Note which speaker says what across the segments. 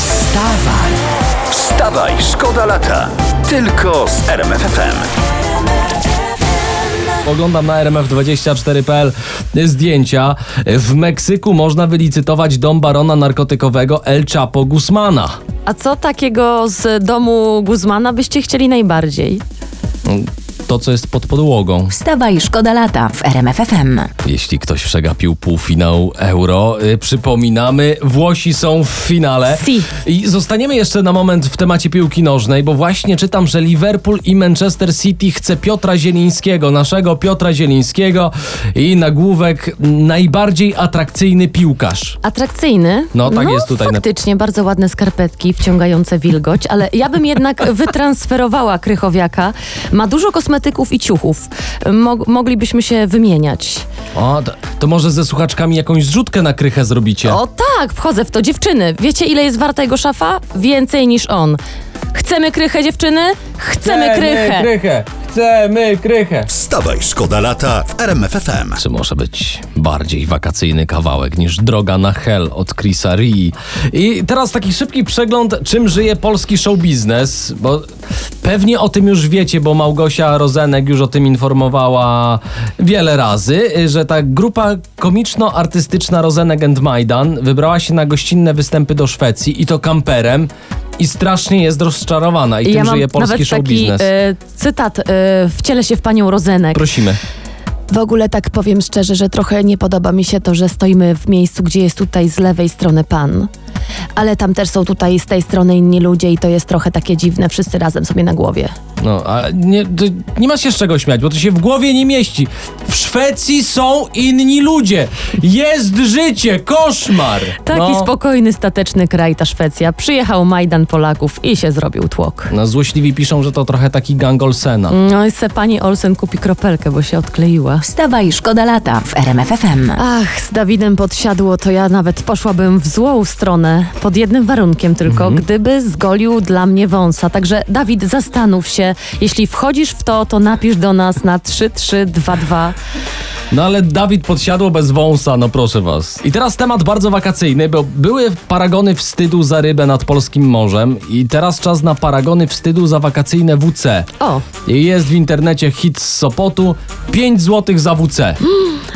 Speaker 1: Wstawaj,
Speaker 2: Wstawaj, szkoda lata. Tylko z RMFFM.
Speaker 3: Oglądam na rmf24.pl zdjęcia. W Meksyku można wylicytować dom barona narkotykowego El Chapo Guzmana.
Speaker 4: A co takiego z domu Guzmana byście chcieli najbardziej?
Speaker 3: To, co jest pod podłogą.
Speaker 1: wstawaj, szkoda lata w RMFFM.
Speaker 3: Jeśli ktoś przegapił półfinał euro, y, przypominamy, Włosi są w finale.
Speaker 4: Si.
Speaker 3: I zostaniemy jeszcze na moment w temacie piłki nożnej, bo właśnie czytam, że Liverpool i Manchester City chce Piotra Zielińskiego, naszego Piotra Zielińskiego i nagłówek najbardziej atrakcyjny piłkarz.
Speaker 4: Atrakcyjny?
Speaker 3: No, tak jest tutaj na-
Speaker 4: Faktycznie, bardzo ładne skarpetki, wciągające wilgoć, ale ja bym jednak wytransferowała Krychowiaka. Ma dużo kosmetyków i ciuchów. Mog- moglibyśmy się wymieniać.
Speaker 3: O, to, to może ze słuchaczkami jakąś zrzutkę na krychę zrobicie.
Speaker 4: O tak, wchodzę w to. Dziewczyny, wiecie ile jest warta jego szafa? Więcej niż on. Chcemy krychę, dziewczyny? Chcemy krychę.
Speaker 3: krychę! Chcemy krychę!
Speaker 2: Wstawaj, szkoda lata w RMFFM.
Speaker 3: Czy może być bardziej wakacyjny kawałek niż Droga na Hell od Chrisa Rii? I teraz taki szybki przegląd, czym żyje polski show biznes, bo pewnie o tym już wiecie, bo Małgosia Rozenek już o tym informowała wiele razy, y, że ta grupa komiczno-artystyczna Rozenek and Majdan wybrała się na gościnne występy do Szwecji i to kamperem. I strasznie jest rozczarowana i
Speaker 4: ja
Speaker 3: tym
Speaker 4: mam
Speaker 3: żyje polski
Speaker 4: nawet
Speaker 3: show
Speaker 4: taki
Speaker 3: biznes.
Speaker 4: e, cytat, e, wcielę się w panią Rozenek.
Speaker 3: Prosimy.
Speaker 4: W ogóle tak powiem szczerze, że trochę nie podoba mi się to, że stoimy w miejscu, gdzie jest tutaj z lewej strony pan. Ale tam też są tutaj z tej strony inni ludzie i to jest trochę takie dziwne, wszyscy razem sobie na głowie.
Speaker 3: No, a nie, to nie ma się z czego śmiać, bo to się w głowie nie mieści. W Szwecji są inni ludzie. Jest życie, koszmar.
Speaker 4: Taki
Speaker 3: no.
Speaker 4: spokojny, stateczny kraj ta Szwecja. Przyjechał Majdan Polaków i się zrobił tłok.
Speaker 3: No, złośliwi piszą, że to trochę taki gang Olsena.
Speaker 4: No i se pani Olsen kupi kropelkę, bo się odkleiła.
Speaker 1: Wstawaj, szkoda lata w RMFFM.
Speaker 4: Ach, z Dawidem podsiadło, to ja nawet poszłabym w złą stronę. Pod jednym warunkiem tylko, gdyby zgolił dla mnie wąsa. Także Dawid, zastanów się. Jeśli wchodzisz w to, to napisz do nas na 3322.
Speaker 3: No ale Dawid podsiadło bez wąsa, no proszę was. I teraz temat bardzo wakacyjny, bo były paragony wstydu za rybę nad polskim morzem i teraz czas na paragony wstydu za wakacyjne WC.
Speaker 4: O,
Speaker 3: I Jest w internecie hit z Sopotu 5 zł za WC.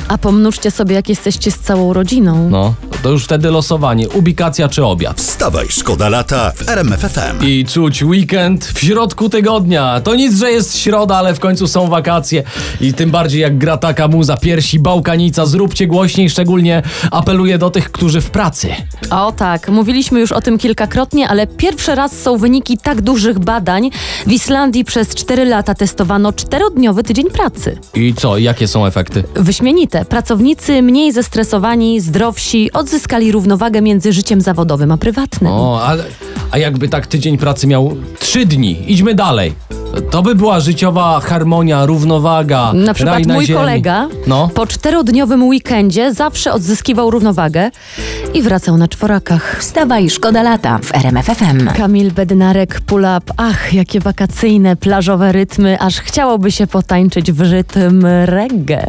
Speaker 4: a pomnóżcie sobie, jak jesteście z całą rodziną.
Speaker 3: No, to już wtedy losowanie, ubikacja czy obiad.
Speaker 2: Wstawaj, szkoda lata w RMFFM.
Speaker 3: I czuć weekend w środku tygodnia. To nic, że jest środa, ale w końcu są wakacje. I tym bardziej jak gra taka muza, piersi, bałkanica, zróbcie głośniej, szczególnie apeluję do tych, którzy w pracy.
Speaker 4: O tak, mówiliśmy już o tym kilkakrotnie, ale pierwszy raz są wyniki tak dużych badań. W Islandii przez 4 lata testowano czterodniowy tydzień pracy.
Speaker 3: I co, jakie są efekty?
Speaker 4: Wyśmienite. Pracownicy mniej zestresowani, zdrowsi, odzyskali równowagę między życiem zawodowym a prywatnym.
Speaker 3: O, ale, a jakby tak tydzień pracy miał trzy dni, idźmy dalej. To by była życiowa harmonia, równowaga.
Speaker 4: Na przykład
Speaker 3: raj na
Speaker 4: mój
Speaker 3: ziemi.
Speaker 4: kolega
Speaker 3: No.
Speaker 4: po czterodniowym weekendzie zawsze odzyskiwał równowagę i wracał na czworakach.
Speaker 1: Wstawaj, szkoda lata w RMFFM.
Speaker 4: Kamil Bednarek, pull up. Ach, jakie wakacyjne, plażowe rytmy, aż chciałoby się potańczyć w rytm reggae.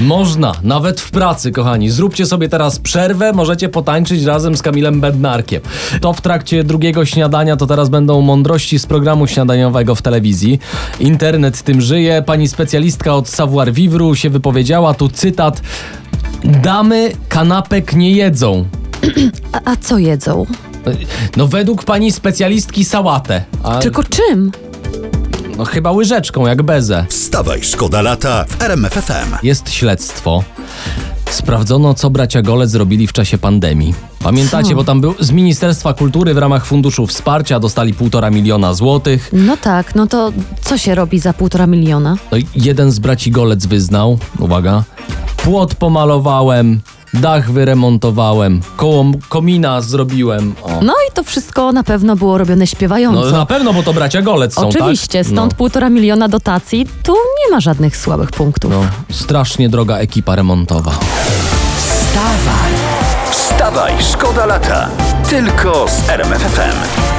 Speaker 3: Można, nawet w pracy, kochani. Zróbcie sobie teraz przerwę, możecie potańczyć razem z Kamilem Bednarkiem. To w trakcie drugiego śniadania, to teraz będą mądrości z programu śniadaniowego w telewizji. Internet tym żyje. Pani specjalistka od Savoir Vivru się wypowiedziała, tu cytat. Damy kanapek nie jedzą.
Speaker 4: A, a co jedzą?
Speaker 3: No według pani specjalistki sałatę. A,
Speaker 4: Tylko czym?
Speaker 3: no, chyba łyżeczką, jak bezę.
Speaker 2: Wstawaj, szkoda lata w RMFFM.
Speaker 3: Jest śledztwo. Sprawdzono, co bracia Gole zrobili w czasie pandemii. Pamiętacie, bo tam był z Ministerstwa Kultury w ramach Funduszu Wsparcia dostali półtora miliona złotych.
Speaker 4: No tak, no to co się robi za półtora miliona?
Speaker 3: No i jeden z braci Golec wyznał, uwaga, płot pomalowałem, dach wyremontowałem, koło m- komina zrobiłem. O.
Speaker 4: No i to wszystko na pewno było robione śpiewająco.
Speaker 3: No na pewno, bo to bracia Golec są,
Speaker 4: Oczywiście,
Speaker 3: tak?
Speaker 4: stąd
Speaker 3: No.
Speaker 4: półtora miliona dotacji, tu nie ma żadnych słabych punktów.
Speaker 3: No, strasznie droga ekipa remontowa.
Speaker 1: Wstawaj,
Speaker 2: Wstawaj, szkoda lata. Tylko z RMFFM.